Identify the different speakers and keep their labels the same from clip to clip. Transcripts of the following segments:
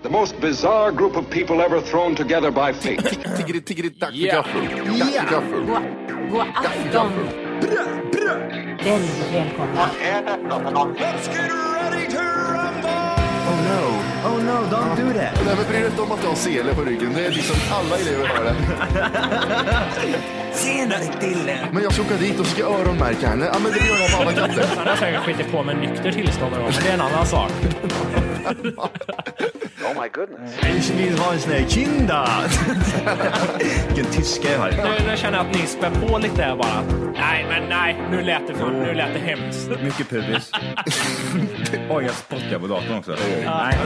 Speaker 1: The most bizarre group of people ever thrown together by fate.
Speaker 2: Tiggeri, tiggeri, dack för gaffel. Dack för gaffel.
Speaker 3: Oh no, oh no, don't do that.
Speaker 2: Nej, men bry dig inte om att jag har sele på ryggen. Det är liksom alla elever har det.
Speaker 3: Senare killen.
Speaker 2: Men jag ska åka dit och ska öronmärka henne. Ja, men det gör jag på alla katter.
Speaker 4: Han har säkert skitit på med nykter tillstånd då, men det är en annan sak.
Speaker 3: Ich vill ha en sån här Kinder. Vilken tyska jag har.
Speaker 4: Nu, nu känner jag att ni spär på lite här bara. Nej, men nej, nu lät det, för, nu lät det hemskt.
Speaker 3: Mycket pubis. Oj, jag spottar på datorn också. Nej.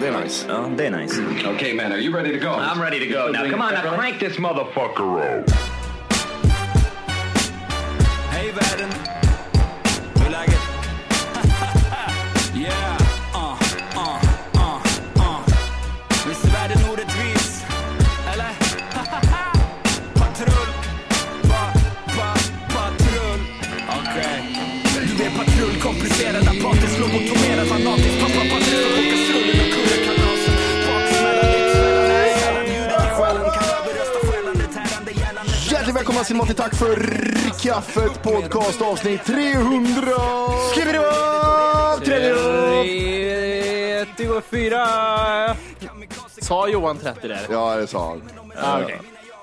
Speaker 2: Det är nice.
Speaker 3: Ja, det är nice.
Speaker 1: okay, man, are you ready to go? I'm ready to go. Now, come on, now crank this motherfucker up.
Speaker 3: Hej världen! Hur är läget? yeah! Uh, uh, uh, uh. Visst är världen orättvis? Eller? patrull! Pa, pa, patrull! Okej. Du är patrull, komplicerad, apatisk, lobotomerad, fanatisk, pappa, patrull, på kastrullen och kurrekalasen. Baksmällan, utsmällan, utsmällan, ljudet i själen, kan överrösta själande, tärande, gällande.
Speaker 2: Hjärtligt välkomna till Matti Tack för kaffet podcast avsnitt 300! Skriver
Speaker 5: Sa Johan 30 där?
Speaker 2: Ja, det sa han. Eh,
Speaker 5: Ja, okej.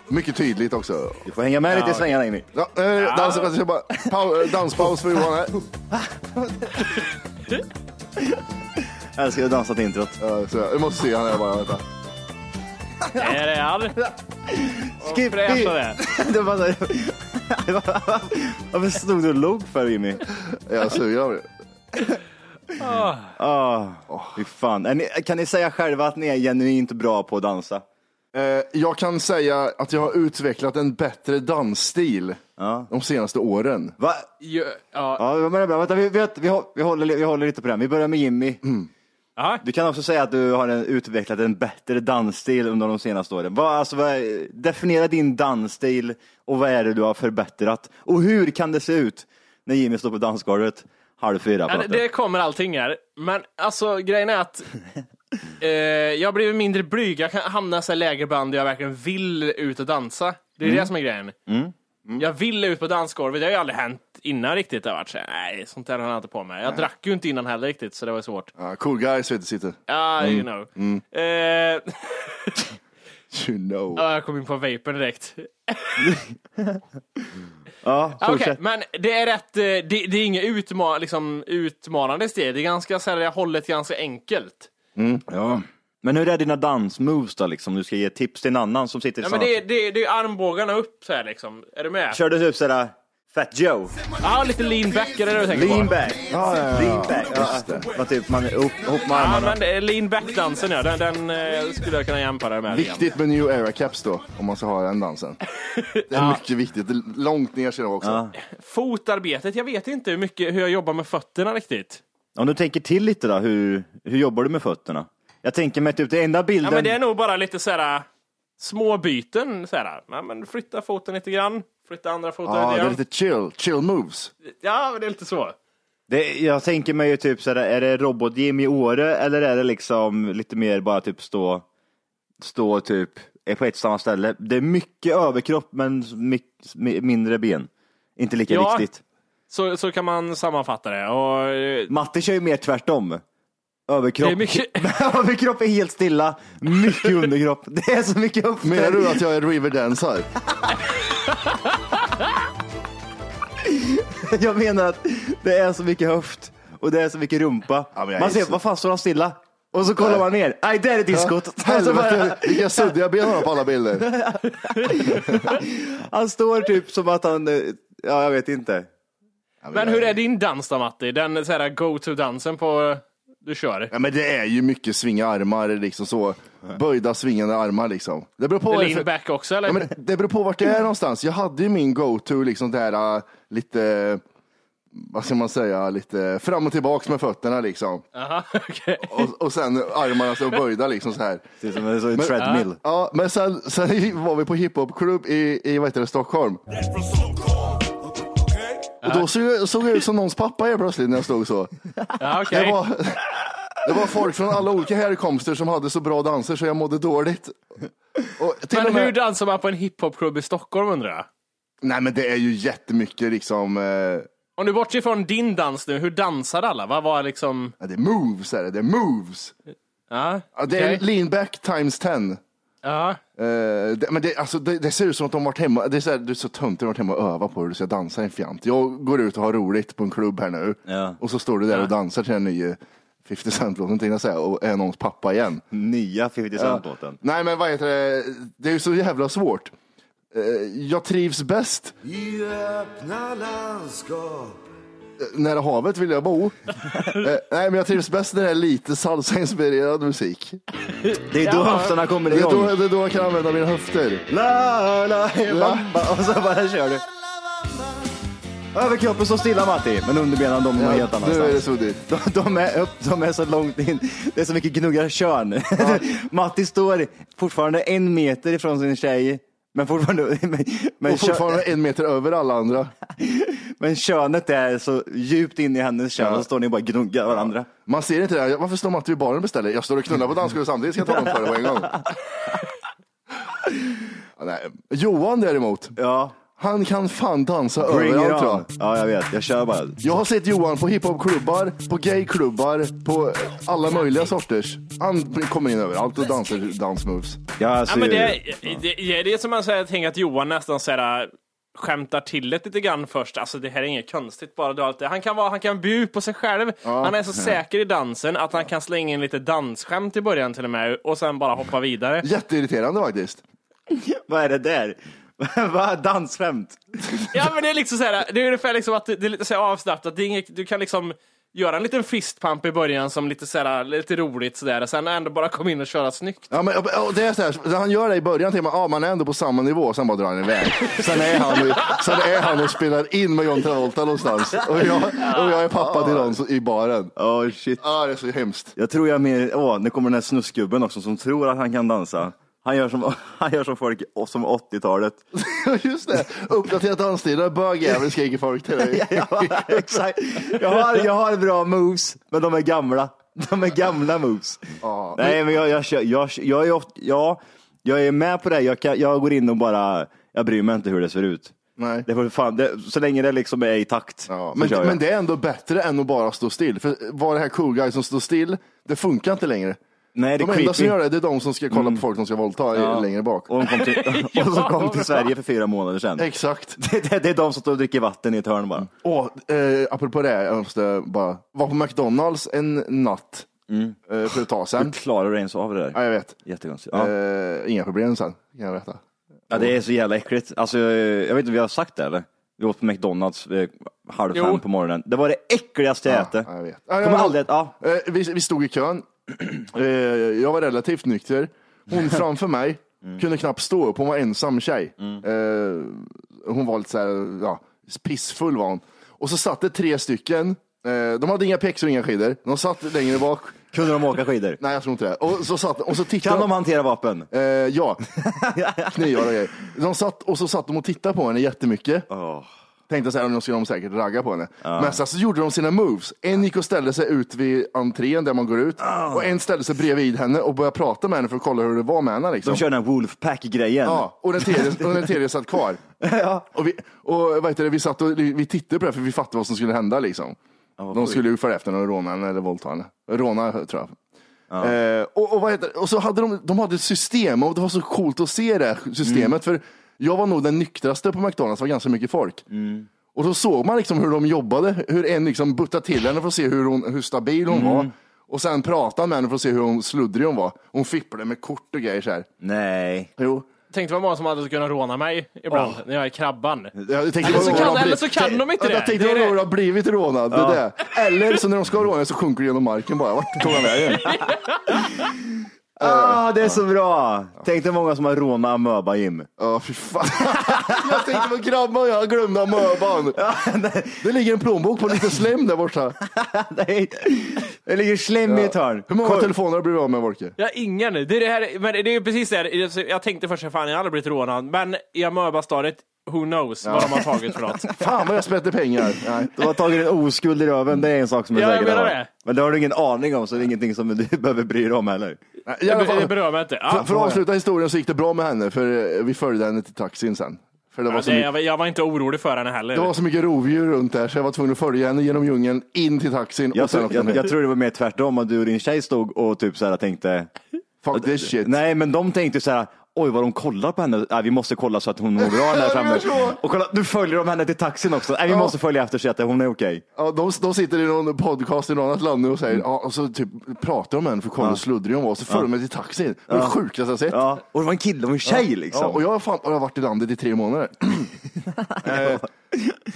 Speaker 2: Mycket tydligt också.
Speaker 3: Du får hänga med lite i svängarna Emil.
Speaker 2: Ja, eh, dans, jag ska bara, pau, eh, danspaus för Johan här.
Speaker 3: Jag älskar att dansa till introt.
Speaker 2: Ja, så jag måste se han här bara. Vänta.
Speaker 4: Är det all?
Speaker 3: Skip
Speaker 4: Fräsch av det.
Speaker 3: det var så... Varför stod du och log för Jimmy?
Speaker 2: Är jag sugen av det?
Speaker 3: Åh, fy fan. Är ni- Kan ni säga själva att ni är genuint bra på att dansa?
Speaker 2: Eh, Jag kan säga att jag har utvecklat en bättre dansstil de senaste åren.
Speaker 3: Va?
Speaker 5: Jo, ja.
Speaker 3: Ja, men det är bra. Vänta, vi, vet, vi, hå- vi, håller, vi håller lite på den. Vi börjar med Jimmy.
Speaker 2: Mm.
Speaker 4: Ja.
Speaker 3: Du kan också säga att du har en, utvecklat en bättre dansstil under de senaste åren. Vad, alltså, vad, är- definiera din dansstil och vad är det du har förbättrat? Och hur kan det se ut när Jimmy står på dansgolvet halv fyra? på
Speaker 5: Ja, det-
Speaker 3: natten?
Speaker 5: Det kommer allting här. Men alltså grejen är att eh, jag har blivit mindre blyg. Jag kan hamna i så här lägerband där jag verkligen vill ut och dansa. Det är det som är grejen. Jag vill ut på dansgolvet. Det har ju aldrig hänt innan riktigt. Det har varit så här, nej, sånt där har jag inte på mig. Jag drack ju inte innan heller riktigt, så det var svårt.
Speaker 2: Ja, Cool guys vet du sitter.
Speaker 5: Ja, you know. Eh,
Speaker 2: You know.
Speaker 5: ja, jag kom in på vapen direkt.
Speaker 3: Ja,
Speaker 5: Okej,
Speaker 3: fortsätt.
Speaker 5: men det är rätt, eh, det, det är inget utma, liksom, utmanande steg. Det är ganska så här, det är hållet ganska enkelt.
Speaker 3: Ja. Men hur är dina dansmoves då liksom? Du ska ge tips till en annan som sitter i
Speaker 5: Ja,
Speaker 3: samma...
Speaker 5: men det, är- det, är- det är armbågarna upp så här liksom. Är du med?
Speaker 3: Kör du typ sådär Fat Joe?
Speaker 5: Ja, lite lean back är det du tänker
Speaker 3: Lean
Speaker 5: på.
Speaker 3: back?
Speaker 2: Ja, ja, ja.
Speaker 3: Lean back? Ja,
Speaker 2: Just
Speaker 3: ja.
Speaker 2: det.
Speaker 3: Vad typ man är upp, ihop med
Speaker 5: Ja,
Speaker 3: armarna?
Speaker 5: men det är lean back-dansen ja, den, den eh, skulle jag kunna jämföra det med. lite grann.
Speaker 2: Viktigt med new era caps då, om man ska ha den dansen. Det är mycket viktigt. Det är Långt ner ser jag också.
Speaker 5: Fotarbetet, jag vet inte hur mycket, hur jag jobbar med fötterna riktigt.
Speaker 3: Om du tänker till lite då, hur, hur jobbar du med fötterna? Jag tänker mig typ, den enda
Speaker 5: Ja,
Speaker 3: bilden...
Speaker 5: men det är nog bara lite så här små byten så här. äh, Ja, men flytta foten lite grann, flytta andra foten
Speaker 2: Ja,
Speaker 5: lite
Speaker 2: det är
Speaker 5: grann.
Speaker 2: lite chill, chill moves.
Speaker 5: Ja, men det är lite så.
Speaker 3: Det, jag tänker mig ju typ sådär, är det robot-Jim i Åre eller är det liksom lite mer bara typ stå, stå typ är på ett samma ställe? Det är mycket överkropp men mycket, mindre ben. Inte lika
Speaker 5: Ja.
Speaker 3: viktigt.
Speaker 5: Så, så kan man sammanfatta det. Och, eh,
Speaker 6: Matte kör ju mer tvärtom. Överkropp.
Speaker 5: Det är mycket-
Speaker 6: Överkropp är helt stilla, mycket underkropp. Det är så mycket upp.
Speaker 3: Menar du att jag är Riverdance-ar?
Speaker 6: Jag menar att det är så mycket höft och det är så mycket rumpa.
Speaker 3: Ja, men jag
Speaker 6: man
Speaker 3: är
Speaker 6: ser,
Speaker 3: så-
Speaker 6: vad fan står han stilla? Och så kollar man ner. Nej, där är diskot. Alltså bara,
Speaker 3: Helvete, vilka suddiga ben han har på alla bilder.
Speaker 6: han står typ som att han, eh, ja jag vet inte.
Speaker 5: men hur är din dans då Matti? Den så här go-to-dansen på du kör?
Speaker 3: Ja, men det är ju mycket svinga armar, liksom så. Böjda svingande armar liksom. Det beror på vad det är
Speaker 5: Lean
Speaker 3: för-
Speaker 5: back också eller?
Speaker 3: Ja, men det beror på vart jag är någonstans. Jag hade ju min go-to, liksom där äh, lite, vad ska man säga, lite fram och tillbaks med fötterna liksom.
Speaker 5: Aha, okej.
Speaker 3: Och, och sen armarna så böjda liksom så här.
Speaker 6: Det är som en, som en treadmill.
Speaker 3: Ja, men sen, sen var vi på hiphopklubb i, i vad heter det, Stockholm. Och då såg jag, såg jag ut som någons pappa helt plötsligt när jag stod så.
Speaker 5: Ja,
Speaker 3: Det
Speaker 5: okej.
Speaker 3: var, det var folk från alla olika härkomster som hade så bra danser så jag mådde dåligt. Och till och
Speaker 5: Men
Speaker 3: med-
Speaker 5: hur dansar man på en hiphopklubb i Stockholm undrar jag?
Speaker 3: Nej men det är ju jättemycket liksom, eh,
Speaker 5: Om du bortser från din dans nu, hur dansar alla? Vad var liksom...
Speaker 3: ja, det är moves är det, det är moves.
Speaker 5: Ja,
Speaker 3: Ja, det är
Speaker 5: okej.
Speaker 3: lean back times 10.
Speaker 5: ja.
Speaker 3: Eh, det, men det, alltså, det, det ser ut som att de varit hemma, det är så, här, det är så töntigt de varit hemma och övat på hur du ska dansa i en fjant. Jag går ut och har roligt på en klubb här nu
Speaker 6: Ja.
Speaker 3: och så står du där och dansar till den nya 50 Cent-låten tänkte jag säga, och är någons pappa igen.
Speaker 6: Nya 50 Cent-låten.
Speaker 3: Nej men vad heter det, det är ju så jävla svårt. Eh, jag trivs bäst
Speaker 7: I öppna landskap
Speaker 3: nära havet vill jag bo. Eh, nej men jag trivs bäst när det är lite salsa-inspirerad musik.
Speaker 6: Det är då höfterna kommer
Speaker 3: Det är,
Speaker 6: igång.
Speaker 3: då, det är då jag kan använda mina höfter.
Speaker 6: La, la, bamba. Och så bara kör du. Överkroppen står stilla Matti, men underbenen de är helt
Speaker 3: nu är det
Speaker 6: annanstans.
Speaker 3: suddigt.
Speaker 6: De, de, är upp, de är så långt in, det är så mycket gnuggar körn. Matti står fortfarande en meter ifrån sin tjej, men fortfarande... Men, men,
Speaker 3: Och fortfarande en meter över alla andra.
Speaker 6: kö- men könet är så djupt in i hennes kön,
Speaker 3: Ja.
Speaker 6: och så står ni och bara gnuggar varandra.
Speaker 3: Man ser inte det. här. Varför står man inte vid baren och beställer? Jag står och knullar på dansgolvet samtidigt. Ska jag ta dem för det på en gång? Ja, nej. Johan däremot,
Speaker 6: Ja,
Speaker 3: han kan fan dansa
Speaker 6: bring it
Speaker 3: överallt tror
Speaker 6: on.
Speaker 3: jag.
Speaker 6: Ja, jag vet, jag kör bara.
Speaker 3: Jag har sett Johan på hiphopklubbar, på gayklubbar, på alla möjliga sorters. Han kommer in överallt och dansar dansmoves.
Speaker 6: Jag, alltså,
Speaker 5: Ja, men det, det, det, det är som man säger, jag tänker att Johan nästan så här, äh, skämtar till det lite grann först. Alltså det här är inget konstigt bara. Du har alltid, han kan, vara, han kan bjuda på sig själv. Han är så säker i dansen att han kan slänga in lite dansskämt i början till och med och sen bara hoppa vidare.
Speaker 3: Jätteirriterande faktiskt.
Speaker 6: Vad är det där? Vad Dansskämt?
Speaker 5: Ja men det är liksom så här, det är ungefär liksom att det, det är lite så här avslappnat. Det är inget, du kan liksom göra en liten fistpump i början som lite så här, äh, lite roligt sådär och sen ändå bara komma in och köra snyggt.
Speaker 3: Ja, men, och det är så här, när han gör det i början tänker man ah, man är ändå på samma nivå, sen bara drar han iväg. Sen är han, sen är han och spelar in med John Travolta någonstans. Och jag, och jag är pappa till någon så- i baren.
Speaker 6: Åh shit.
Speaker 3: Ah, det är så hemskt.
Speaker 6: Jag tror jag mer, åh, nu kommer den här snusgubben också som tror att han kan dansa. Han gör som, han gör som folk, som 80-talet.
Speaker 3: Just det, uppdaterat dansstilar, bögjävel skriker folk till dig.
Speaker 6: Ja, exakt. Jag har, jag har bra moves, men de är gamla. De är gamla moves.
Speaker 3: Ja.
Speaker 6: Nej, men jag, jag, kör- jag, jag, är ofta, ja, jag är med på det. Jag, kan, jag går in och bara, jag bryr mig inte hur det ser ut.
Speaker 3: Nej.
Speaker 6: Det får, fan, det, så länge det liksom är i takt.
Speaker 3: Ja,
Speaker 6: så
Speaker 3: men,
Speaker 6: kör jag.
Speaker 3: men det är ändå bättre än att bara stå still. För var det här cool guys som står still, det funkar inte längre.
Speaker 6: Nej, det
Speaker 3: de
Speaker 6: är
Speaker 3: enda som
Speaker 6: creepy. Mm.
Speaker 3: gör det, det är de som ska kolla på folk som ska våldta i- längre bak.
Speaker 6: Och, de kom till, och så kom till Sverige för fyra månader sedan.
Speaker 3: Exakt.
Speaker 6: Det, det, det är de som står och dricker vatten i ett hörn bara.
Speaker 3: Och, eh, apropå det, jag måste bara, var på McDonalds en natt eh, för ett tag sedan.
Speaker 6: Hur klarar Mm. du ens av det där?
Speaker 3: Ja, jag vet.
Speaker 6: Jättekonstigt. Ja.
Speaker 3: Eh, inga problem sen, kan jag berätta.
Speaker 6: ja, det är så jävla äckligt. Alltså, jag vet inte om vi har sagt det eller? Vi åt på McDonalds eh, halv
Speaker 5: Jo.
Speaker 6: fem på morgonen. Det var det äckligaste jag ätit.
Speaker 3: Ja, jag vet. Ja,
Speaker 6: Kommer
Speaker 3: ja,
Speaker 6: aldrig att, ja.
Speaker 3: Eh, vi, vi stod i kön. Eh, jag var relativt nykter. Hon framför mig
Speaker 6: Mm.
Speaker 3: kunde knappt stå upp. Hon var ensam tjej. Eh, hon var lite så här, ja, pissfull var hon. Och så satt det tre stycken. Eh, de hade inga pjäxor och inga skidor. De satt längre bak.
Speaker 6: Kunde de åka skidor?
Speaker 3: Nej, jag tror inte det. Och så, satt, och så tittade
Speaker 6: Kan de hantera vapen?
Speaker 3: Eh, ja, knivar och grejer. De satt, och så satt de och tittade på henne jättemycket.
Speaker 6: Åh.
Speaker 3: Tänkte så här, nu ska de säkert ragga på henne. Men sen så gjorde de sina moves. En gick och ställde sig ut vid entrén där man går ut.
Speaker 6: Ah.
Speaker 3: Och en ställde sig bredvid henne och började prata med henne för att kolla hur det var med henne. Liksom.
Speaker 6: De kör den här Wolfpack-grejen.
Speaker 3: ja, och, den tredje, och den tredje satt kvar. Och, vi, och vad heter det, vi satt och vi tittade på det här för vi fattade vad som skulle hända. Liksom. De
Speaker 8: sjukt.
Speaker 3: skulle ju följa efter någon rånare eller våldtagande. Råna tror jag. Eh, och, och, vad heter, det? och så hade de, de hade ett system och det var så coolt att se det här systemet. För jag var nog den nyktraste på McDonalds, det var ganska mycket folk. Och då såg man liksom hur de jobbade, hur en liksom buttade till henne för att se hur, hon, hur stabil hon var. Och sen pratade med henne för att se hur hon sluddrig hon var. Hon fipplade med kort och grejer så här.
Speaker 8: Nej.
Speaker 3: Jo.
Speaker 5: Tänkte vad många som hade kunnat råna mig ibland när jag är krabban.
Speaker 3: Jag tänkte,
Speaker 5: Eller så
Speaker 3: vad
Speaker 5: kan-
Speaker 3: har
Speaker 5: eller
Speaker 3: blivit-
Speaker 5: så kan de inte
Speaker 3: Jag
Speaker 5: det.
Speaker 3: tänkte
Speaker 5: Det är
Speaker 3: att
Speaker 5: det.
Speaker 3: några har blivit rånad. Det är det. Eller så när de ska råna så sjunker det genom marken bara. Vart tog han vägen?
Speaker 8: Ah, det är så bra. Tänk dig många som har rånat amöba, Jim.
Speaker 3: Ja, fy fan. Jag tänkte på grabbar och jag glömde amöban. Det ligger en plånbok på lite slem där borta.
Speaker 8: Nej. Det ligger slem i ett hörn.
Speaker 3: Hur många
Speaker 8: Kolla-
Speaker 3: telefoner har du blivit av med, Volke?
Speaker 5: Jag har ingen. Det är det här, men det är ju precis det här. Jag tänkte först, fan jag har aldrig blivit rånad. Men i amöbastadiet, who knows vad de har tagit för något.
Speaker 3: Fan vad jag spätte pengar. Nej.
Speaker 8: Du har tagit en oskuld i röven, det är en sak som är
Speaker 5: Ja, jag
Speaker 8: säker.
Speaker 5: menar
Speaker 8: Adam.
Speaker 5: det.
Speaker 8: Men det har du ingen aning om, så det är ingenting som du behöver bry dig om heller.
Speaker 3: Nej, i alla
Speaker 5: Det,
Speaker 3: fall,
Speaker 5: det berör mig inte.
Speaker 3: för,
Speaker 5: Ja.
Speaker 3: för att avsluta historien så gick det bra med henne, för eh, vi följde henne till taxin sen. För det var,
Speaker 5: Ja,
Speaker 3: så
Speaker 5: det,
Speaker 3: mycket,
Speaker 5: jag, jag var inte orolig för henne heller.
Speaker 3: det var så mycket rovdjur runt där så jag var tvungen att följa henne genom djungeln in till taxin
Speaker 8: Jag,
Speaker 3: och sen
Speaker 8: tror,
Speaker 3: åkte
Speaker 8: jag,
Speaker 3: med.
Speaker 8: jag tror det var mer tvärtom, att du och din tjej stod och typ så här tänkte,
Speaker 3: Fuck this shit.
Speaker 8: nej men de tänkte så här, oj vad de kollar på henne, nej, vi måste kolla så att hon mår bra där
Speaker 3: Ja, det
Speaker 8: framme.
Speaker 3: var så.
Speaker 8: Och kolla, nu följer de henne till taxin också, nej, vi
Speaker 3: Ja.
Speaker 8: måste följa efter så att hon är okej. Mm.
Speaker 3: Ja, de, de sitter i någon podcast i något annat land nu och säger, ja, och så typ pratar de med henne för att kolla hur sluddrig hon var, och så följer de med till taxin. Det var det sjukaste jag har sett.
Speaker 8: Ja, och det var en kille och en tjej liksom.
Speaker 3: Ja, och jag har fan, jag har varit i landet i tre månader. Eh,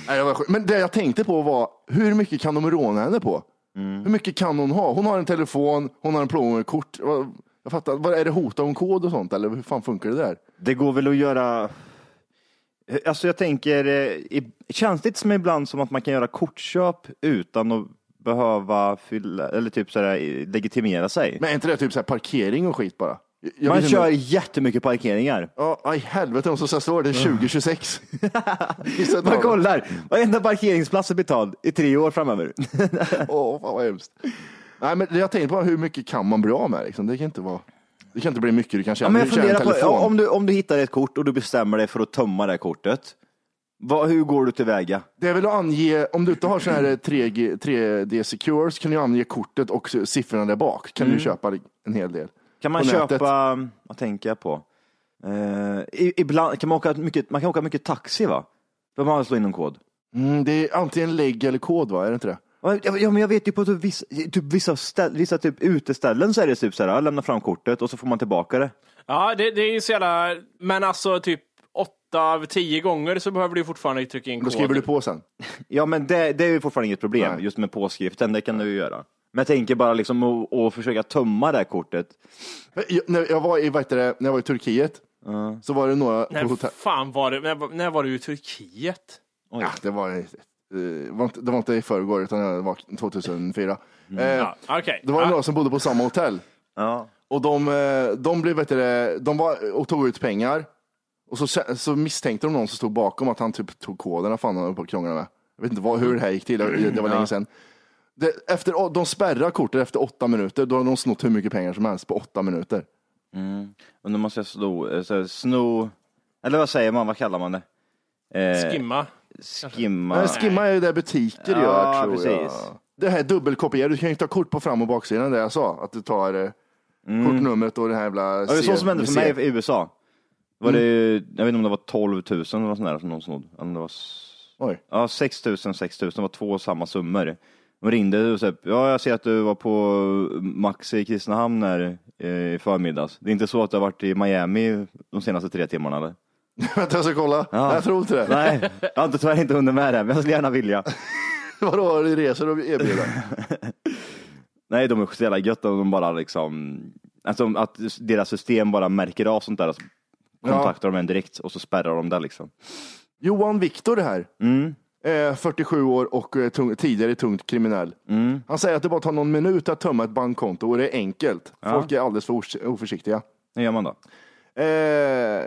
Speaker 3: nej, jag var sjuk. Men det jag tänkte på var, hur mycket kan de råna henne på?
Speaker 8: Mm.
Speaker 3: Hur mycket kan hon ha? Hon har en telefon, hon har en plånbok med kort. Vad- Jag fattar, vad är det hot om kod och sånt eller hur fan funkar det där?
Speaker 8: Det går väl att göra... Alltså jag tänker, eh, i- känns det inte som ibland som att man kan göra kortköp utan att behöva fylla, eller typ sådär, eh, legitimera sig?
Speaker 3: Men är inte det typ så här parkering och skit bara? Jag- jag
Speaker 8: man
Speaker 3: vet inte-
Speaker 8: kör jättemycket parkeringar.
Speaker 3: Ja, aj helvete om så står det 2026. Gissa ett
Speaker 8: Man
Speaker 3: namn.
Speaker 8: kollar, varenda parkeringsplats är betald i tre år framöver.
Speaker 3: Åh, fan vad hemskt. Nej, men jag tänkte bara, hur mycket kan man bli av med? Liksom? Det kan inte vara... Det kan inte bli mycket du kan tjäna.
Speaker 8: Ja, men jag
Speaker 3: du tjänar en
Speaker 8: funderar på,
Speaker 3: telefon.
Speaker 8: ja, om, du, om du hittar ett kort och du bestämmer dig för att tömma det här kortet, vad, hur går du tillväga?
Speaker 3: Det är väl att ange, om du inte har sån här eh, 3G, 3D Secure så kan du ange kortet och siffrorna där bak. Kan du köpa en hel del.
Speaker 8: Mm. Kan man
Speaker 3: På nätet.
Speaker 8: köpa, vad tänker jag på? Eh, i- ibland, kan man, åka mycket, man kan åka mycket taxi va? Då man slå in en kod.
Speaker 3: Mm, det är antingen lägg eller kod, va? Är det inte det?
Speaker 8: Ja, ja, men jag vet ju på typ vissa, typ vissa, ställ, vissa typ uteställen så är det typ så här, lämna fram kortet och så får man tillbaka det.
Speaker 5: Ja, det, det är ju så jävla... Men alltså typ åtta av tio gånger så behöver du fortfarande trycka in
Speaker 3: Då
Speaker 5: kod.
Speaker 3: skriver du på sen.
Speaker 8: Ja, men det, det är ju fortfarande inget problem
Speaker 3: Nej.
Speaker 8: just med påskriften, det kan du ju göra. Men jag tänker bara liksom att- att försöka tömma det här kortet.
Speaker 3: Eh, Jag, när, jag var i, vad heter det, när jag var i Turkiet så var det några på
Speaker 5: När
Speaker 3: hotell.
Speaker 5: fan var det? När, när var du i Turkiet?
Speaker 3: Ja, det, var, eh, var inte, det var inte i förrgår utan det var 2004.
Speaker 8: Mm.
Speaker 3: Eh,
Speaker 5: Ja, okej.
Speaker 3: Det var
Speaker 5: Ja.
Speaker 3: några som bodde på samma hotell.
Speaker 8: Ja.
Speaker 3: Och de, eh, de, blev, vet du, det, de var och tog ut pengar. Och så, kä- så misstänkte de någon som stod bakom att han typ tog koderna fan han höll på och krånglade med. Jag vet inte vad, hur det här gick till, det det var länge sedan. Det, efter, de spärrar kortet efter åtta minuter, då har de snott hur mycket pengar som helst på åtta minuter.
Speaker 8: Och nu måste jag sno, eh, så här, sno, eller vad säger man, vad kallar man det? Eh,
Speaker 5: Skimma.
Speaker 8: skimma.
Speaker 3: Nej. Skimma är ju där butiker
Speaker 8: Ja,
Speaker 3: gör tror jag.
Speaker 8: precis.
Speaker 3: Det här dubbelkopierar, du kan ju inte ta kort på fram och baksidan där jag sa, att du tar eh, kortnumret och den här jävla...
Speaker 8: Mm.
Speaker 3: Mm.
Speaker 8: Ja, det är så som hände för mig i USA. Var det, ju- jag vet inte om det var 12 000 eller något sånt där som någon snodde. Eller om det var s-
Speaker 3: Oj.
Speaker 8: Ja, 6 000, 6 000 var två och samma summor. De ringde och sa, ja jag ser att du var på Maxi i Kristinehamn här eh, i förmiddags. Det är inte så att du har varit i Miami de senaste tre timmarna eller?
Speaker 3: Vänta jag ska kolla,
Speaker 8: Ja.
Speaker 3: jag tror inte det.
Speaker 8: Nej, jag har inte- tyvärr inte hunnit med det, men jag skulle gärna vilja.
Speaker 3: Vadå, har du resor att erbjuda?
Speaker 8: Nej, de är så jävla gött om de bara liksom, alltså att deras system bara märker av sånt där och så kontaktar de en direkt och så spärrar de det liksom. Mm.
Speaker 3: Johan Viktor här. Eh, 47 år och eh, tung, tidigare tungt kriminell.
Speaker 8: Mm.
Speaker 3: Han säger att det bara tar någon minut att tömma ett bankkonto och det är enkelt. Folk är alldeles för os- oförsiktiga.
Speaker 8: Hur gör man då?
Speaker 3: Eh,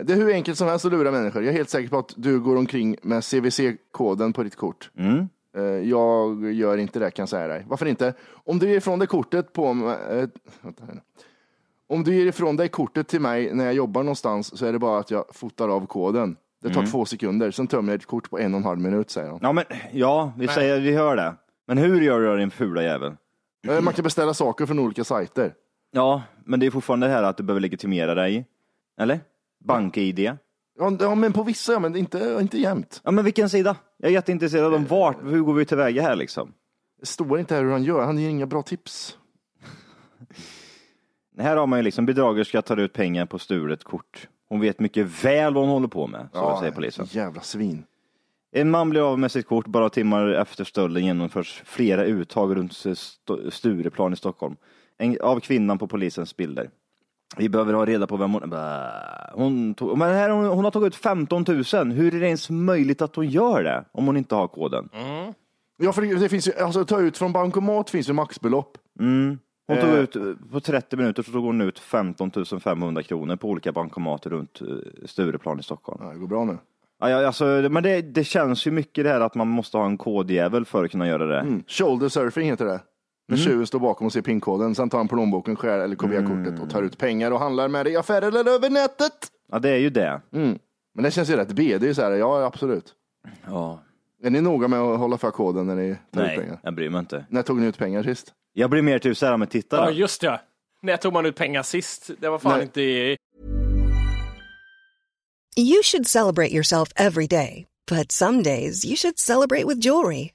Speaker 3: det är hur enkelt som helst att lura människor. Jag är helt säker på att du går omkring med CVC-koden på ditt kort. Eh, jag gör inte det kan jag säga dig. Varför inte? Om du ger ifrån dig kortet på... Eh, vänta här nu. Om du ger ifrån dig kortet till mig när jag jobbar någonstans så är det bara att jag fotar av koden.
Speaker 1: Det tar
Speaker 3: Mm.
Speaker 1: två sekunder, sen tömmer jag ett kort på en och en halv minut, säger han.
Speaker 3: Ja, men ja, vi, säger, vi hör det. Men hur gör du det, din fula jävel?
Speaker 1: Eh, Man kan beställa saker från olika sajter.
Speaker 3: Ja, men det är fortfarande det här att du behöver legitimera dig. Eller? Bank-id.
Speaker 1: Ja, ja, men på vissa, ja, men inte, inte jämt.
Speaker 3: Ja, men vilken sida? Jag är jätteintresserad om vart, hur går vi tillväga här liksom?
Speaker 1: Det står inte här hur han gör, han ger inga bra tips.
Speaker 3: Här har man ju liksom bedragerska tar ut pengar på stulet kort. Hon vet mycket väl vad hon håller på med, så säger polisen.
Speaker 1: Jävla svin.
Speaker 3: En man blir av med sitt kort bara timmar efter stölden genomförs flera uttag runt St- Stureplan i Stockholm. En, av kvinnan på polisens bilder. Vi behöver ha reda på vem hon... Bä. Hon, tog, men här, hon, hon har tagit ut 15 000. Hur är det ens möjligt att hon gör det om hon inte har koden?
Speaker 1: Mm. Ja, för det, det finns ju, alltså ta ut från bankomat finns ju maxbelopp.
Speaker 3: Mm. Hon tog
Speaker 1: Eh.
Speaker 3: ut, på 30 minuter så tog hon ut 15 500 kronor på olika bankomater runt eh, Stureplan i Stockholm.
Speaker 1: Ja, det går bra nu.
Speaker 3: Ja, ja, alltså, det- men det, det känns ju mycket det här att man måste ha en kodjävel för att kunna göra det. Mm.
Speaker 1: Mm. Shoulder surfing heter det. När tjuven står bakom och ser pinkoden, sen tar han plånboken, skär eller KBA-kortet och tar ut pengar och handlar med det i affärer eller över nätet.
Speaker 3: Ja, det är ju det.
Speaker 1: Mm. Men det känns ju rätt B, det är ju så här, ja absolut.
Speaker 3: Ja.
Speaker 1: Är ni noga med att hålla för koden när ni tar ut
Speaker 3: Nej,
Speaker 1: pengar?
Speaker 3: jag bryr mig inte.
Speaker 1: När tog ni ut pengar sist?
Speaker 3: Jag blir mer typ så här med
Speaker 5: Ja,
Speaker 3: tittare.
Speaker 5: just det. När tog man ut pengar sist? Det var fan
Speaker 1: Nej.
Speaker 5: inte i...
Speaker 9: You should celebrate yourself every day, but some days you should celebrate with jewelry.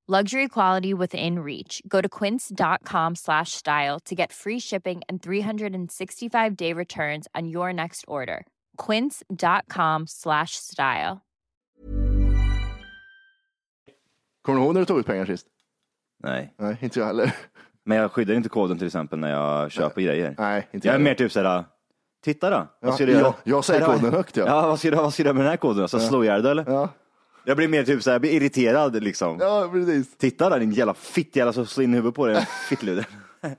Speaker 10: Luxury quality within reach. Go to quince.com slash style to get free shipping and 365 day returns on your next order. Quince.com slash style.
Speaker 1: Kommer du ihåg när du tog ut pengar sist?
Speaker 3: Nej.
Speaker 1: Nej, inte jag heller.
Speaker 3: Men jag skyddar inte koden till exempel när jag köper grejer.
Speaker 1: Nej, inte
Speaker 3: jag är
Speaker 1: jag.
Speaker 3: mer typ så här, titta då.
Speaker 1: Ja,
Speaker 3: Vad ska du göra?
Speaker 1: jag- jag säger
Speaker 3: Här har-
Speaker 1: koden högt, ja.
Speaker 3: ja. vad ska du, vad ska du göra med den här koden? då? Så
Speaker 1: Ja.
Speaker 3: slå ihjäl dig eller?
Speaker 1: Ja.
Speaker 3: Jag blir mer typ så här, jag blir irriterad liksom.
Speaker 1: Ja, precis.
Speaker 3: Titta där din jävla fittjävel som slår in huvudet på dig, fittluder.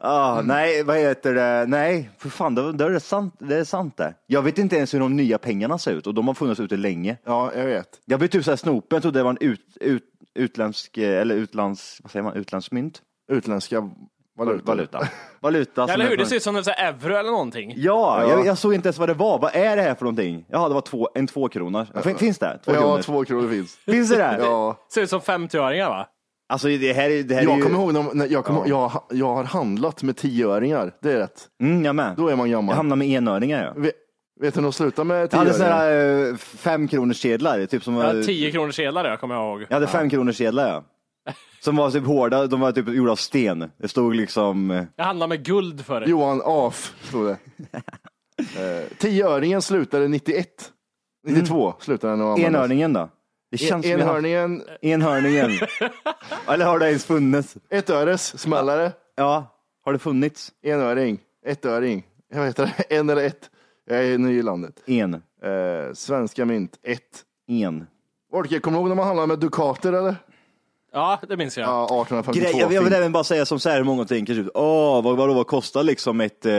Speaker 3: Ah,
Speaker 1: Mm.
Speaker 3: Nej, vad heter det? Nej, för fan, det, det, är sant, det är sant det. Jag vet inte ens hur de nya pengarna ser ut och de har funnits ute länge.
Speaker 1: Ja, jag vet.
Speaker 3: Jag blev typ så här snopen, jag trodde det var en ut, ut, utländsk, eh, eller utlands, vad säger man, utlandsmynt?
Speaker 1: Utländska valutor.
Speaker 3: Valuta.
Speaker 1: Alltså,
Speaker 3: Valuta som
Speaker 5: Eller
Speaker 3: är
Speaker 5: hur? Det
Speaker 3: från-
Speaker 5: ser ut som en sån här euro eller någonting.
Speaker 3: Ja,
Speaker 5: Ja.
Speaker 3: Jag, jag såg inte ens vad det var. Vad är det här för någonting? Jaha, det var två, en tvåkrona. Fin, finns det? Två
Speaker 1: ja,
Speaker 3: kronor?
Speaker 1: två kronor finns.
Speaker 3: Finns det där?
Speaker 1: Ja.
Speaker 5: Ser ut som 50-öringar va?
Speaker 3: Alltså det här, är- det här är
Speaker 1: Jag
Speaker 3: ju...
Speaker 1: kommer ihåg, när, när jag, kommer, jag, jag har handlat med tioöringar, det är rätt.
Speaker 3: Mm, jag med.
Speaker 1: Då är man gammal.
Speaker 3: Jag hamnar med enöringar. Ja.
Speaker 1: Ve- Vet du när de slutar med
Speaker 3: Jag hade såna
Speaker 1: tioöringar?
Speaker 3: här eh, fem kronors sedlar, typ som
Speaker 5: Jag
Speaker 3: eh,
Speaker 5: har 10 kronor sedlar jag kommer jag ihåg.
Speaker 3: Jag hade fem kronors sedlar ja. Som var typ hårda, de var typ gjorda av sten. Det stod liksom, eh,
Speaker 5: Jag handlade med guld förr.
Speaker 1: Johan Af, stod det. Eh, Tioöringen slutade 91. 92 slutade den att användas.
Speaker 3: Mm. enhörningen då. Det
Speaker 1: En-
Speaker 3: känns som jag har-
Speaker 1: Enhörningen,
Speaker 3: Enhörningen. Eller har det ens funnits?
Speaker 1: ettöres, smällare,
Speaker 3: Ja, har det funnits?
Speaker 1: enöring, ettöring. Jag vet inte, en eller ett. Jag är ny i landet.
Speaker 3: En.
Speaker 1: Eh, svenska mynt, ett.
Speaker 3: En.
Speaker 1: Folke, kommer du ihåg när man handlade med dukater eller?
Speaker 5: Ja, det minns jag.
Speaker 1: Ja, 1852.
Speaker 3: Grej, jag, jag vill
Speaker 1: fint.
Speaker 3: även bara säga som så här, många tänker typ, åh, vad, vad, vad kostar liksom ett eh,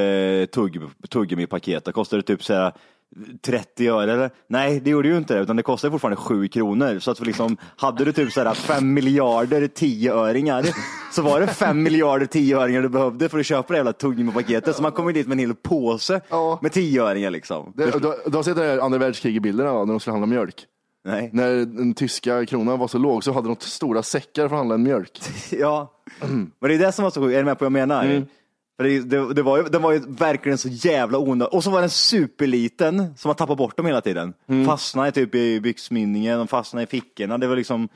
Speaker 3: tugg, tuggummi-paket? Det Kostar det typ så här 30 öre eller? Nej, det gjorde ju inte det, utan det kostade fortfarande 7 kronor. Så att liksom, hade du typ så här 5 miljarder 10-öringar så var det 5 miljarder 10-öringar du behövde för att köpa det jävla tuggummi-paketet. Så man kom ju dit med en hel påse
Speaker 1: Ja.
Speaker 3: med 10-öringar liksom.
Speaker 1: Det- Du, du har sett det här andra världskriget-bilderna va, när de skulle handla mjölk?
Speaker 3: Nej.
Speaker 1: När den tyska kronan var så låg så hade de stora säckar för att handla en mjölk.
Speaker 3: Ja, men det är det som var så sjukt. Är du med på vad jag menar?
Speaker 1: Mm.
Speaker 3: För det, det, det var ju, den var ju verkligen så jävla onödig. Och så var den superliten, som man tappade bort dem hela tiden.
Speaker 1: Mm.
Speaker 3: Fastnade typ i byxmynningen, de fastnade i fickorna. Det var liksom,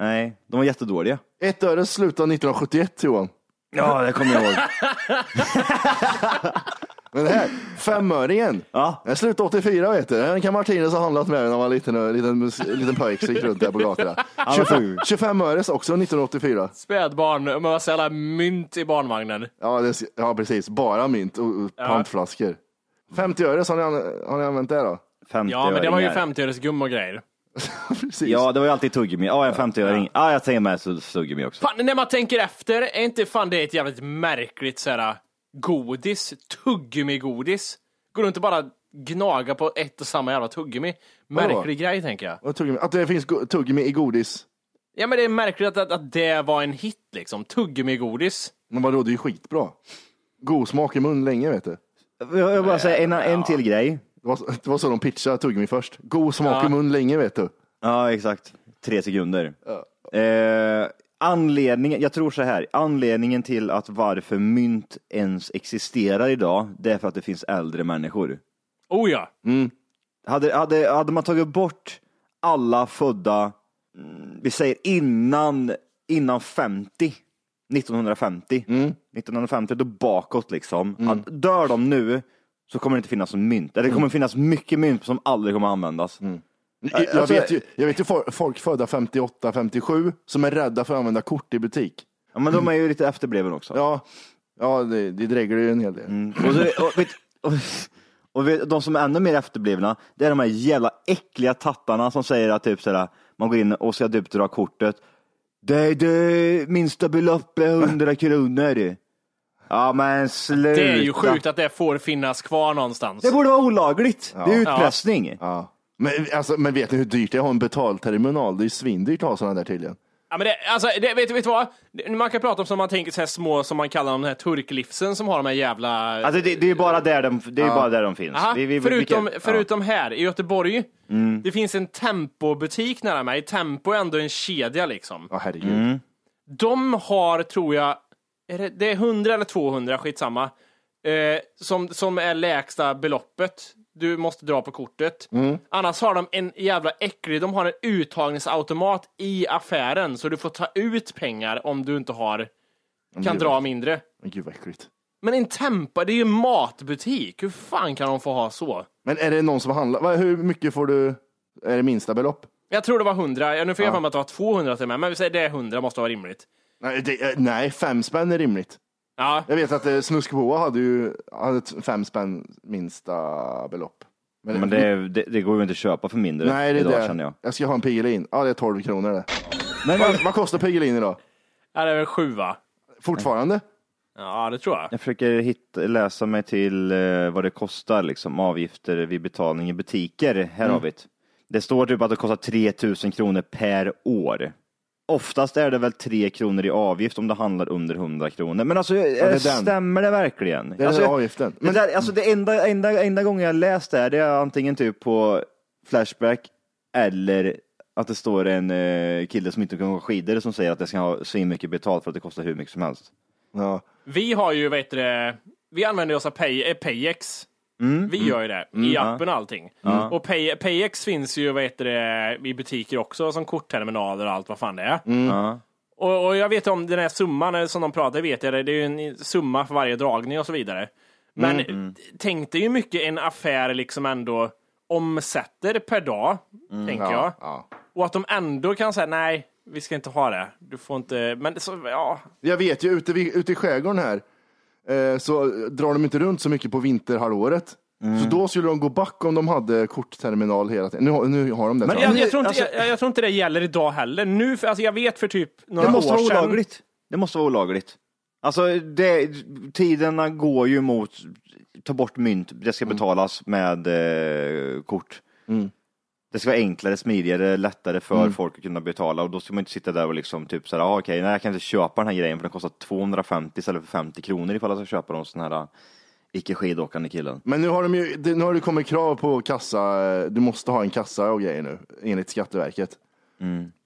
Speaker 3: nej, de var jättedåliga.
Speaker 1: Ett öre slutade 1971 Johan.
Speaker 3: Ja, det kommer jag ihåg.
Speaker 1: Men det här, femöringen.
Speaker 3: Ja.
Speaker 1: Den slutade 84 vet du. Den kan Martinez ha handlat med när han var liten, en liten, mus- en liten pojk som gick runt där på gatorna.
Speaker 5: men
Speaker 1: 25, 25 öres också 1984.
Speaker 5: Spädbarn, men vad säger alla mynt i barnvagnen?
Speaker 1: Ja, det, ja precis, bara mynt och, och
Speaker 5: Ja.
Speaker 1: pantflaskor. 50 öres har ni, an- har ni använt det då?
Speaker 3: 50
Speaker 5: Ja, men det var ju 50-öresgum och grejer.
Speaker 3: Ja, det var ju alltid tuggummi. Ja, en 50-öring. Ja, jag tänker med så- tuggummi också.
Speaker 5: Fan, när man tänker efter, är inte fan det ett jävligt märkligt såhär godis? Tuggummi-godis? Går du inte bara gnaga på ett och samma jävla tuggummi?
Speaker 1: Vadå?
Speaker 5: Märklig grej tänker jag.
Speaker 1: Och tuggummi, att det finns go- tuggummi i godis.
Speaker 5: Ja men det är märkligt att, att, att det var en hit liksom, tuggummi-godis.
Speaker 1: Men vadå, det är ju skitbra. God smak i mun länge vet du.
Speaker 3: Jag vill bara säga en, en till grej.
Speaker 1: Det var, så- det var så de pitchade tuggummi först. God smak
Speaker 3: Ja.
Speaker 1: i mun länge vet du.
Speaker 3: Ja, exakt. Tre sekunder. Eh, anledningen, jag tror så här, anledningen till att varför mynt ens existerar idag, det är för att det finns äldre människor.
Speaker 5: Oh ja!
Speaker 3: Mm. Hade, hade, hade man tagit bort alla födda, mm, vi säger innan, innan 50, 1950,
Speaker 1: Mm.
Speaker 3: 1950 då bakåt liksom. Att dör de nu så kommer det inte finnas någon mynt. Eller det
Speaker 1: Mm.
Speaker 3: kommer finnas mycket mynt som aldrig kommer användas.
Speaker 1: Jag, jag
Speaker 3: Alltså-
Speaker 1: vet ju, jag vet ju fo- folk födda 58, 57 som är rädda för att använda kort i butik.
Speaker 3: Ja, men de är ju lite efterbliven också. Mm.
Speaker 1: Ja, ja det, det dräglar ju en hel del.
Speaker 3: Och, så, och, vet, och, och vet, de som är ännu mer efterblivna, det är de här jävla äckliga tattarna som säger att typ sådär, man går in och ska typ dra kortet. Det är det minsta beloppet, 100 kronor. Ja men sluta.
Speaker 5: Det är ju sjukt att det får finnas kvar någonstans.
Speaker 3: Det borde vara olagligt. Det är
Speaker 5: Ja.
Speaker 3: utpressning.
Speaker 1: Ja. Men, alltså, men vet ni hur dyrt det är att ha en betalterminal? Det är ju svindyrt att ha sådana där tydligen.
Speaker 5: Ja, men det, alltså, det, vet, vet du vad? Det- Man kan prata om som man tänker så här små, som man kallar dem, den här turklifsen som har de här jävla...
Speaker 3: Alltså det, det är ju bara där de, det är ju
Speaker 5: Ja.
Speaker 3: bara där de finns.
Speaker 5: Aha,
Speaker 3: Vi- vi- vi-
Speaker 5: förutom,
Speaker 3: vilka-
Speaker 5: förutom här i Göteborg,
Speaker 3: Ja. Mm.
Speaker 5: det finns en Tempo-butik nära mig. Tempo är ändå en kedja liksom.
Speaker 1: Ja, herregud.
Speaker 3: Mm.
Speaker 5: De har, tror jag, är det, det är 100 eller 200, skitsamma, eh, som, som är lägsta beloppet du måste dra på kortet.
Speaker 1: Mm.
Speaker 5: Annars har de en jävla äcklig, de har en uttagningsautomat i affären, så du får ta ut pengar om du inte har,
Speaker 1: men
Speaker 5: kan
Speaker 1: det är
Speaker 5: dra
Speaker 1: väl-
Speaker 5: mindre.
Speaker 1: Men gud vad äckligt.
Speaker 5: Men en Tempa, det är ju en matbutik. Hur fan kan de få ha så?
Speaker 1: Men är det någon som handlar? vad- Hur mycket får du? Är det minsta belopp?
Speaker 5: Jag tror det var 100, Ja, nu får jag
Speaker 1: Ja.
Speaker 5: för mig att det var 200 till mig, men vi säger det är 100, måste vara rimligt.
Speaker 1: Nej, det, eh, nej fem spänn är rimligt.
Speaker 5: Ja.
Speaker 1: Jag vet att eh, Snuskboa hade ju hade ett fem spänn minsta belopp.
Speaker 3: Men det, det, det går ju inte att köpa för mindre
Speaker 1: nej, det är
Speaker 3: idag
Speaker 1: det.
Speaker 3: känner jag.
Speaker 1: ska ha en Piggelin. Ja, det är 12 kronor det.
Speaker 3: Men,
Speaker 1: vad, vad kostar Piggelin idag?
Speaker 5: Ja, det är väl 7 va?
Speaker 1: Fortfarande?
Speaker 5: Ja, det tror jag.
Speaker 3: Jag försöker hitta, läsa mig till eh, vad det kostar, liksom, avgifter vid betalning i butiker. Här
Speaker 1: Mm.
Speaker 3: har vi det. Det står typ att det kostar 3000 kronor per år. Oftast är det väl 3 kronor i avgift om det handlar under 100 kronor. Men alltså, eh,
Speaker 1: den.
Speaker 3: stämmer det verkligen?
Speaker 1: Det är
Speaker 3: alltså,
Speaker 1: den
Speaker 3: jag-
Speaker 1: avgiften.
Speaker 3: Det, där, alltså, det enda, enda, enda gången jag läst det här, det är antingen typ på Flashback eller att det står en eh, kille som inte kan gå skidor som säger att jag ska ha så mycket betalt för att det kostar hur mycket som helst.
Speaker 1: Ja.
Speaker 5: Vi har ju, vad heter det, vi använder oss av Pay, eh, Payex.
Speaker 3: Mm.
Speaker 5: Vi gör ju det,
Speaker 3: Mm.
Speaker 5: i
Speaker 3: Ja.
Speaker 5: appen och allting.
Speaker 3: Ja.
Speaker 5: Och Pay, Payex finns ju, vad heter det, i butiker också, som kortterminaler och allt vad fan det är.
Speaker 3: Mm. Ja.
Speaker 5: Och, och jag vet om den här summan eh, som de pratar, vet jag, det det är ju en summa för varje dragning och så vidare. Men
Speaker 3: Mm. Mm.
Speaker 5: tänk dig ju mycket en affär liksom ändå omsätter per dag,
Speaker 3: Mm.
Speaker 5: tänker
Speaker 1: ja,
Speaker 5: jag. Och att de ändå kan säga nej, vi ska inte ha det. Du får inte, men så, ja.
Speaker 1: Jag vet ju, ute, vid- ute i skärgården här eh, så drar de inte runt så mycket på vinterhalvåret.
Speaker 3: Mm.
Speaker 1: Så då skulle de gå back om de hade kortterminal hela tiden. Nu, har- nu har de det. tror jag.
Speaker 3: Alltså,
Speaker 5: jag, jag, tror inte, jag, jag tror inte det gäller idag heller. Nu, för, alltså, jag vet för typ några
Speaker 3: det måste
Speaker 5: år
Speaker 3: vara
Speaker 5: sedan.
Speaker 3: olagligt. Det måste vara olagligt. Alltså, det, tiderna går ju mot ta bort mynt, det ska
Speaker 1: Mm.
Speaker 3: betalas med eh, kort. Det ska vara enklare, smidigare, lättare för
Speaker 1: Mm.
Speaker 3: folk att kunna betala och då ska man inte sitta där och liksom typ såhär, ah, okej, nej jag kan inte köpa den här grejen för den kostar 250 istället för 50 kronor ifall jag ska köpa den hos den här eh, icke skidåkande killen.
Speaker 1: Men nu har, de ju, det- nu har det kommit krav på kassa. eh, Du måste ha en kassa och grejer nu, enligt Skatteverket.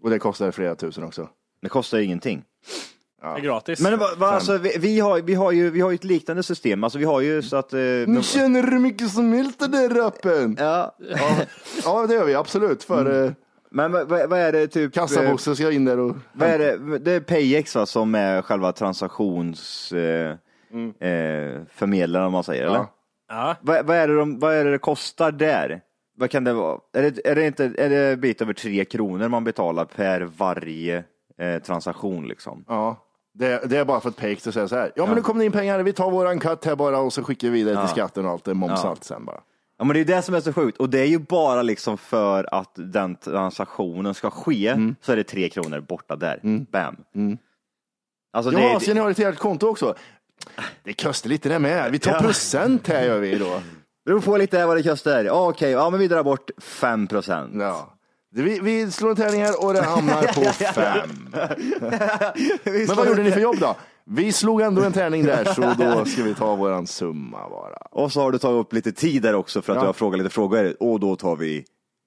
Speaker 1: Och det kostar flera tusen också.
Speaker 3: Det kostar ju ingenting.
Speaker 5: Det är gratis.
Speaker 3: Men vad- vad, alltså, vi, vi, har, vi, har ju, vi har ju ett liknande system, alltså vi har ju så att... eh,
Speaker 1: Nu känner du mycket som helst den där rappen.
Speaker 3: Ja. Mm.
Speaker 1: ja, det gör vi absolut. För, eh,
Speaker 3: Men vad, vad vad är det typ? eh,
Speaker 1: Kassabossen ska in där och...
Speaker 3: Vad är det? det är Payex va, som är själva transaktions... Eh,
Speaker 1: Mm.
Speaker 3: eh, förmedlaren om man säger, eller?
Speaker 5: Ja.
Speaker 3: Vad, vad, är det de, vad är det det kostar där? Vad kan det vara? Är det, är det inte är det en bit över tre kronor man betalar per varje eh, transaktion liksom?
Speaker 1: Ja, det, det är bara för att Payex och säga så här. Ja, men nu kommer det in pengar, vi tar våran katt här bara och så skickar vi vidare
Speaker 3: Ja.
Speaker 1: till skatten och allt det, moms
Speaker 3: Ja.
Speaker 1: och allt sen bara.
Speaker 3: Ja men det är ju det som är så sjukt och det är ju bara liksom för att den transaktionen ska ske
Speaker 1: Mm.
Speaker 3: så är det tre kronor borta där. Bam. Alltså, det
Speaker 1: ja,
Speaker 3: är-
Speaker 1: så ni har ett eget konto också. Det kostar lite det med. Vi tar procent här gör vi då.
Speaker 3: Det beror på lite vad det kostar. Ja, Okej, ja, men vi drar bort 5 procent.
Speaker 1: Ja. Vi, vi slår en tärning här och det hamnar på fem. Men vad gjorde ni för jobb då? Vi slog ändå en tärning där, så då ska vi ta våran summa bara.
Speaker 3: Och så har du tagit upp lite tid där också för att
Speaker 1: Ja.
Speaker 3: du har frågat lite frågor och då tar vi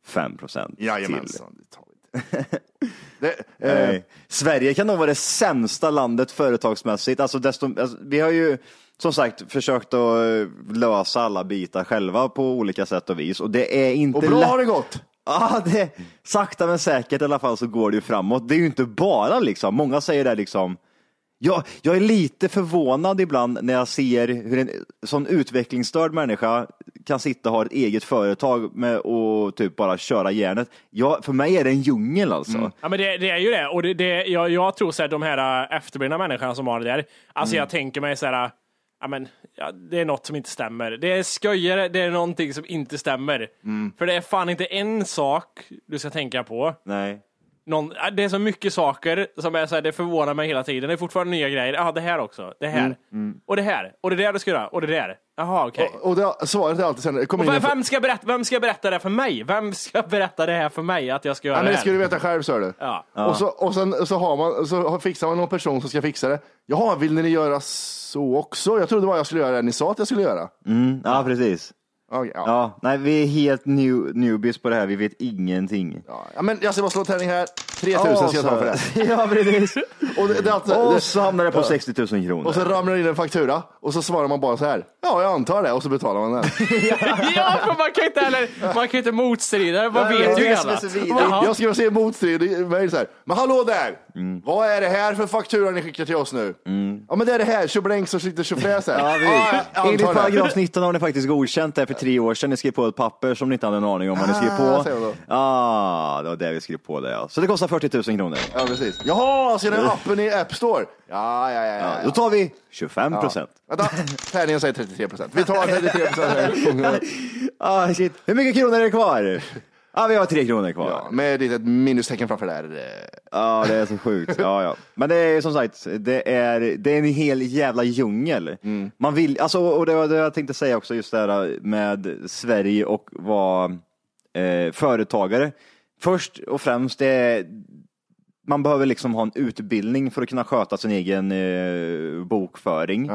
Speaker 3: 5 procent
Speaker 1: Jajamensan,
Speaker 3: till. Nej. Eh, Sverige kan nog vara det sämsta landet företagsmässigt. Alltså desto, alltså, vi har ju som sagt försökt att eh, lösa alla bitar själva på olika sätt och vis och det är inte
Speaker 1: Och bra
Speaker 3: lätt.
Speaker 1: har det gått.
Speaker 3: Ja, det, sakta men säkert i alla fall så går det ju framåt. Det är ju inte bara liksom, många säger det liksom, jag, jag är lite förvånad ibland när jag ser hur en sån utvecklingsstörd människa kan sitta och ha ett eget företag med och typ bara köra järnet. Ja, för mig är det en djungel alltså.
Speaker 1: Mm.
Speaker 5: Ja, men det, det är ju det. Och det, det jag, jag tror så här, de här äh, efterblivna människorna som har det där. Alltså
Speaker 3: Mm.
Speaker 5: jag tänker mig så här. äh, Ja, men, ja, det är något som inte stämmer. Det är sköjare, det är någonting som inte stämmer.
Speaker 1: Mm.
Speaker 5: För det är fan inte en sak du ska tänka på.
Speaker 3: Nej.
Speaker 5: Någon, ja, det är så mycket saker som är så här, det förvånar mig hela tiden. Det är fortfarande nya grejer. Ja, det här också. Det här.
Speaker 1: Mm,
Speaker 5: Och det här. Och det där du ska göra. Och det där. Jaha, okej.
Speaker 1: Och, och det, svaret är alltid sen, det kommer
Speaker 5: Och
Speaker 1: in
Speaker 5: vem,
Speaker 1: en...
Speaker 5: vem, ska berätta, vem ska berätta det här för mig? Vem ska berätta det här för mig att jag ska göra
Speaker 1: Ja, men
Speaker 5: det
Speaker 1: det
Speaker 5: här?
Speaker 1: ska du veta själv, sa du.
Speaker 5: Ja.
Speaker 1: Och, så, och sen så, har man, så har- fixar man någon person som ska fixa det. Jaha, vill ni göra så också? Jag trodde bara jag skulle göra det ni sa att jag skulle göra.
Speaker 3: Mm, ja, precis.
Speaker 1: ja.
Speaker 3: nej, vi är helt new, newbies på det här, vi vet ingenting.
Speaker 1: Ja, men jag ska bara slå tärning här. 3000 ska jag ta för det.
Speaker 3: ja, precis.
Speaker 1: Och, det, det, är alltså- det-
Speaker 3: Och så hamnar det på
Speaker 1: Ja.
Speaker 3: 60 000 kronor.
Speaker 1: Och så ramlar det in en faktura och så svarar man bara så här. Ja, jag antar det och så betalar man den.
Speaker 5: ja, för man kan inte heller, man kan inte motstrida. Man vet ju alla. Jaha.
Speaker 1: Jag ska se motstridig mejl så här. Men hallå där!
Speaker 3: Mm.
Speaker 1: Vad är det här för faktura ni skickar till oss nu? Ja, men det är det här. Tjoblänks och lite tjofräs här.
Speaker 3: Ja, vi,
Speaker 1: jag
Speaker 3: enligt
Speaker 1: antar det.
Speaker 3: paragraf 19 har ni faktiskt godkänt det här för tre år sedan. Ni skrev på ett papper som ni inte hade en aning om vad ni skrev
Speaker 1: Ah,
Speaker 3: på.
Speaker 1: säger man
Speaker 3: Ah, det var det vi skrev på det ja. Så det kostar 40 000 kronor.
Speaker 1: Ja, precis. Jaha, ser ni appen i App Store? Ja, ja, ja. ja,
Speaker 3: Då tar vi 25
Speaker 1: Ja.
Speaker 3: procent.
Speaker 1: Vänta, tärningen säger 33 procent. Vi tar 33 procent.
Speaker 3: ah, shit. Hur mycket kronor är det kvar? ah, vi har tre kronor kvar. Ja,
Speaker 1: med ett litet minustecken framför där. eh,
Speaker 3: Ja, det är så sjukt. Ja, ja. Men det är som sagt, det är, det är en hel jävla djungel.
Speaker 1: Mm.
Speaker 3: Man vill, alltså, och det var det jag tänkte säga också, just det här med Sverige och vara eh, företagare. Först och främst, det är, man behöver liksom ha en utbildning för att kunna sköta sin egen eh, bokföring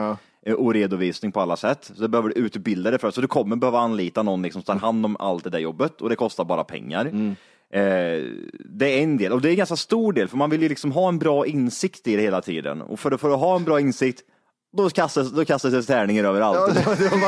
Speaker 3: eh, och redovisning på alla sätt. Så det behöver du utbilda dig för. Så du kommer behöva anlita någon liksom, som tar hand om allt det där jobbet och det kostar bara pengar. Eh, det är en del och det är en ganska stor del för man vill ju liksom ha en bra insikt i det hela tiden och för, för att ha en bra insikt då kastas, då kastas det tärningar överallt.
Speaker 1: Vänta Johan,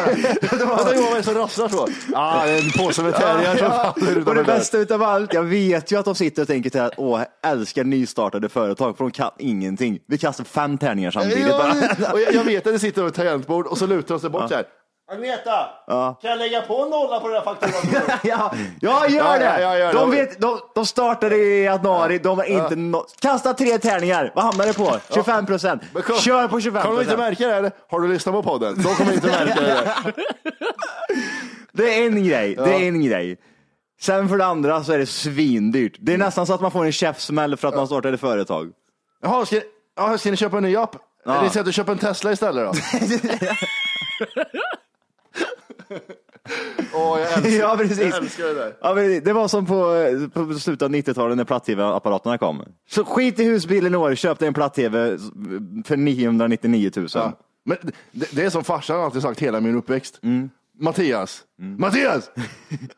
Speaker 1: vad är det som rasslar så? Ja, det är en påse med tärningar som faller
Speaker 3: Och
Speaker 1: utanför
Speaker 3: det
Speaker 1: dörren.
Speaker 3: bästa utav allt, jag vet ju att de sitter och tänker till att åh, jag älskar nystartade företag för de kan ingenting. Vi kastar fem tärningar samtidigt bara.
Speaker 1: Ja, och jag, jag vet att det sitter över ett tangentbord och så lutar de sig bort
Speaker 3: Ja.
Speaker 1: så här. Agneta,
Speaker 3: Ja.
Speaker 1: kan jag lägga på en nolla på den här fakturan?
Speaker 3: ja, ja,
Speaker 1: Ja,
Speaker 3: gör det!
Speaker 1: ja, ja, ja,
Speaker 3: de,
Speaker 1: ja.
Speaker 3: vet, de, de startade i januari, de har inte nå- Kasta tre tärningar, vad hamnar det på? 25 procent. Kör på 25
Speaker 1: Kommer de inte
Speaker 3: procent.
Speaker 1: märka det? Eller? Har du lyssnat på podden? De kommer inte märka det.
Speaker 3: Det är en grej, det är en grej. Sen för det andra så är det svindyrt. Det är
Speaker 1: Mm.
Speaker 3: nästan så att man får en käftsmäll för att man startade ett företag.
Speaker 1: Jaha, ska, ja, ska ni köpa en ny app?
Speaker 3: Ja.
Speaker 1: Eller ska du köpa en Tesla istället då? Åh, jag älskar,
Speaker 3: Ja, precis.
Speaker 1: jag älskar det där.
Speaker 3: Ja, men det var som på, på slutet av 90-talet när platt-tv-apparaterna kom. Så skit i husbilen i år, köp dig en platt-tv för 999 000.
Speaker 1: Men det, det är som farsan alltid sagt hela min uppväxt.
Speaker 3: Mm.
Speaker 1: Mattias, Mattias!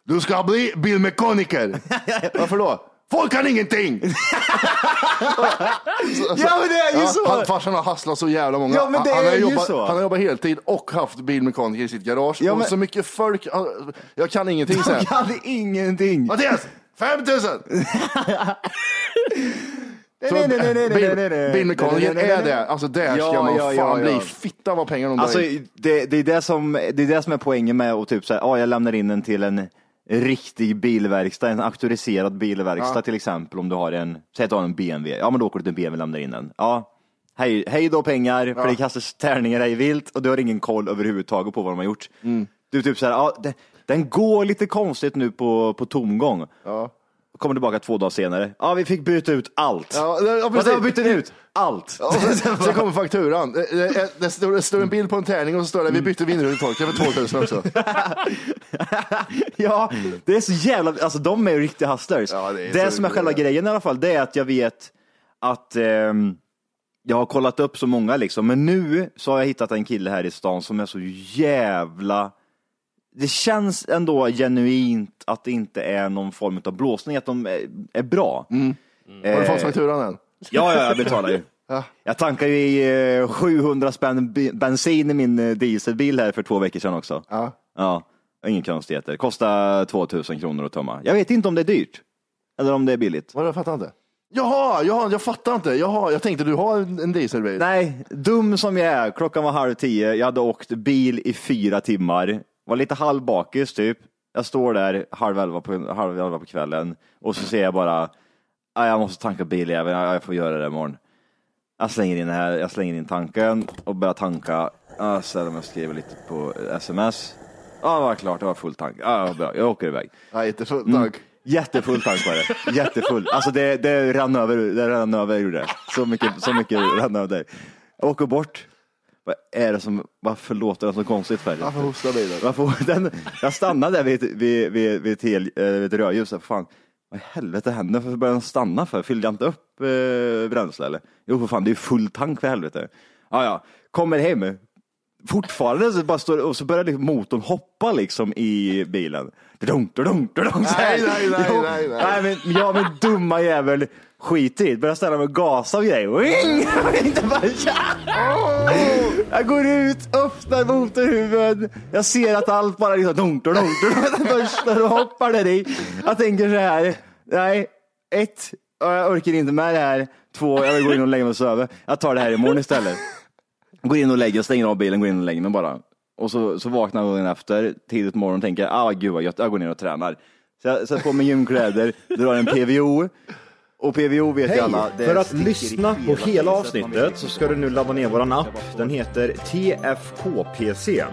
Speaker 1: Du ska bli bilmekaniker. Varför då? Folk kan ingenting!
Speaker 3: Ja, men det är ju
Speaker 1: Ja,
Speaker 3: så!
Speaker 1: Han, farsan har hasslat så jävla många.
Speaker 3: Ja, men det
Speaker 1: han, han, har
Speaker 3: är ju
Speaker 1: jobbat,
Speaker 3: så.
Speaker 1: han har jobbat heltid och haft bilmekaniker i sitt garage.
Speaker 3: Ja,
Speaker 1: och
Speaker 3: men-
Speaker 1: så mycket folk. Jag kan ingenting,
Speaker 3: De
Speaker 1: sen.
Speaker 3: kan ingenting.
Speaker 1: Mattias! 5000! Så bil- Bilmekanikern är det. Alltså där ska
Speaker 3: Ja,
Speaker 1: man
Speaker 3: ja,
Speaker 1: fan
Speaker 3: ja, ja.
Speaker 1: bli. Fitta vad pengar de drar
Speaker 3: Alltså,
Speaker 1: in.
Speaker 3: det, det, är det, som, det är det som är poängen med att typ så här, ja, jag lämnar in den till en riktig bilverkstad, en auktoriserad bilverkstad
Speaker 1: Ja.
Speaker 3: till exempel om du har en, säg att du har en BMW, ja men då åker du till en BMW och lämnar in den. Ja, hej, hej då pengar, för
Speaker 1: Ja.
Speaker 3: det kastas tärningar hej vilt och du har ingen koll överhuvudtaget på vad de har gjort.
Speaker 1: Mm.
Speaker 3: Du är typ så här, ja, den, den går lite konstigt nu på, på tomgång. Kommer tillbaka två dagar senare, ja vi fick byta ut allt.
Speaker 1: Ja, ja,
Speaker 3: Vad
Speaker 1: precis.
Speaker 3: vad bytte ni ut? Allt.
Speaker 1: Och sen, sen kommer fakturan. Det, det, det, står, det står en bild på en tärning och så står det vi bytte vindrutetorkare för 2000 också.
Speaker 3: Ja, det är så jävla, alltså de är ju riktiga hustlers.
Speaker 1: det
Speaker 3: det
Speaker 1: är så
Speaker 3: som är själva grejen i alla fall, det är att jag vet att ehm, jag har kollat upp så många liksom, men nu så har jag hittat en kille här i stan som är så jävla, det känns ändå genuint att det inte är någon form av blåsning, att de är, är bra.
Speaker 1: Mm. Har du
Speaker 3: Eh,
Speaker 1: fått fakturan än?
Speaker 3: Ja, ja, jag betalar ju.
Speaker 1: Ja.
Speaker 3: Jag tankar ju i eh, 700 spänn bi- bensin i min eh, dieselbil här för två veckor sedan också.
Speaker 1: Ja.
Speaker 3: Ja, inga konstigheter. Kostar 2000 kronor att tömma. Jag vet inte om det är dyrt. Eller om det är billigt.
Speaker 1: Vadå, jag fattar inte. Jaha, jaha, jag fattar inte. Jaha, jag tänkte du har en en dieselbil.
Speaker 3: Nej, dum som jag är. Klockan var halv tio. Jag hade åkt bil i fyra timmar. Var lite halvbakis typ. Jag står där halv elva på, halv elva på kvällen och så ser jag bara, "Ah, jag måste tanka biljäveln. Ja, Jag får göra det imorgon. Jag slänger in det här, jag slänger in tanken och börjar tanka. Jag ställer mig och skriver lite på sms. Ja, det var klart, det var full tank. Ja, vad bra, jag åker iväg.
Speaker 1: Nej, inte full
Speaker 3: Mm.
Speaker 1: tank.
Speaker 3: Jättefull tank var det. Jättefull. Alltså det, det rann över, det rann över gjorde det. Så mycket, så mycket rann över där. Jag åker bort. Vad är det som, varför låter den så konstigt för?
Speaker 1: Varför hostar bilen?
Speaker 3: Varför, den, jag stannade där vid, ett- vid, vid, vid, ett hel, eh, vid ett rödljus. Där, fan, vad i helvete hände? Varför började den stanna för? Fyllde jag inte upp eh, bränsle eller? Jo, för fan, det är ju full tank för helvete. Ja, ja. Kommer hem, fortfarande så bara står och så börjar liksom motorn hoppa liksom i bilen. Dudung, dudung, dudung, så här.
Speaker 1: Nej, nej, nej,
Speaker 3: Jo,
Speaker 1: nej, nej.
Speaker 3: men jag men dumma jävel skiter i det. Börjar ställa mig och gasa och grejer. Wing! Inte bara, ja! Jag går ut, öppnar motorhuven. Jag ser att allt bara liksom dunk, dunk, dunk. Den Första och hoppar där i. Jag tänker så här. Nej, ett, jag orkar inte med det här. Två, jag vill gå in och lägga mig och sova. Jag tar det här imorgon istället. Går in och lägger, jag stänger av bilen, går in och lägger mig bara. Och så, så vaknar jag dagen efter, tidigt morgon, och tänker, ah gud vad gött, jag går ner och tränar. Så jag sätter på mig gymkläder, drar en PVO. Och PVO vet ju alla. det
Speaker 11: För att
Speaker 3: sticker i
Speaker 11: lyssna på
Speaker 3: hela
Speaker 11: hela
Speaker 3: priset, man vet
Speaker 11: avsnittet så ska du nu ladda ner våran app. Den heter TFKPC.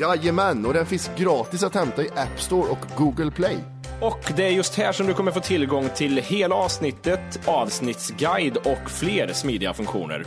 Speaker 1: Jajamän, och den finns gratis att hämta i App Store och Google Play.
Speaker 12: Och det är just här som du kommer få tillgång till hela avsnittet, avsnittsguide och fler smidiga funktioner.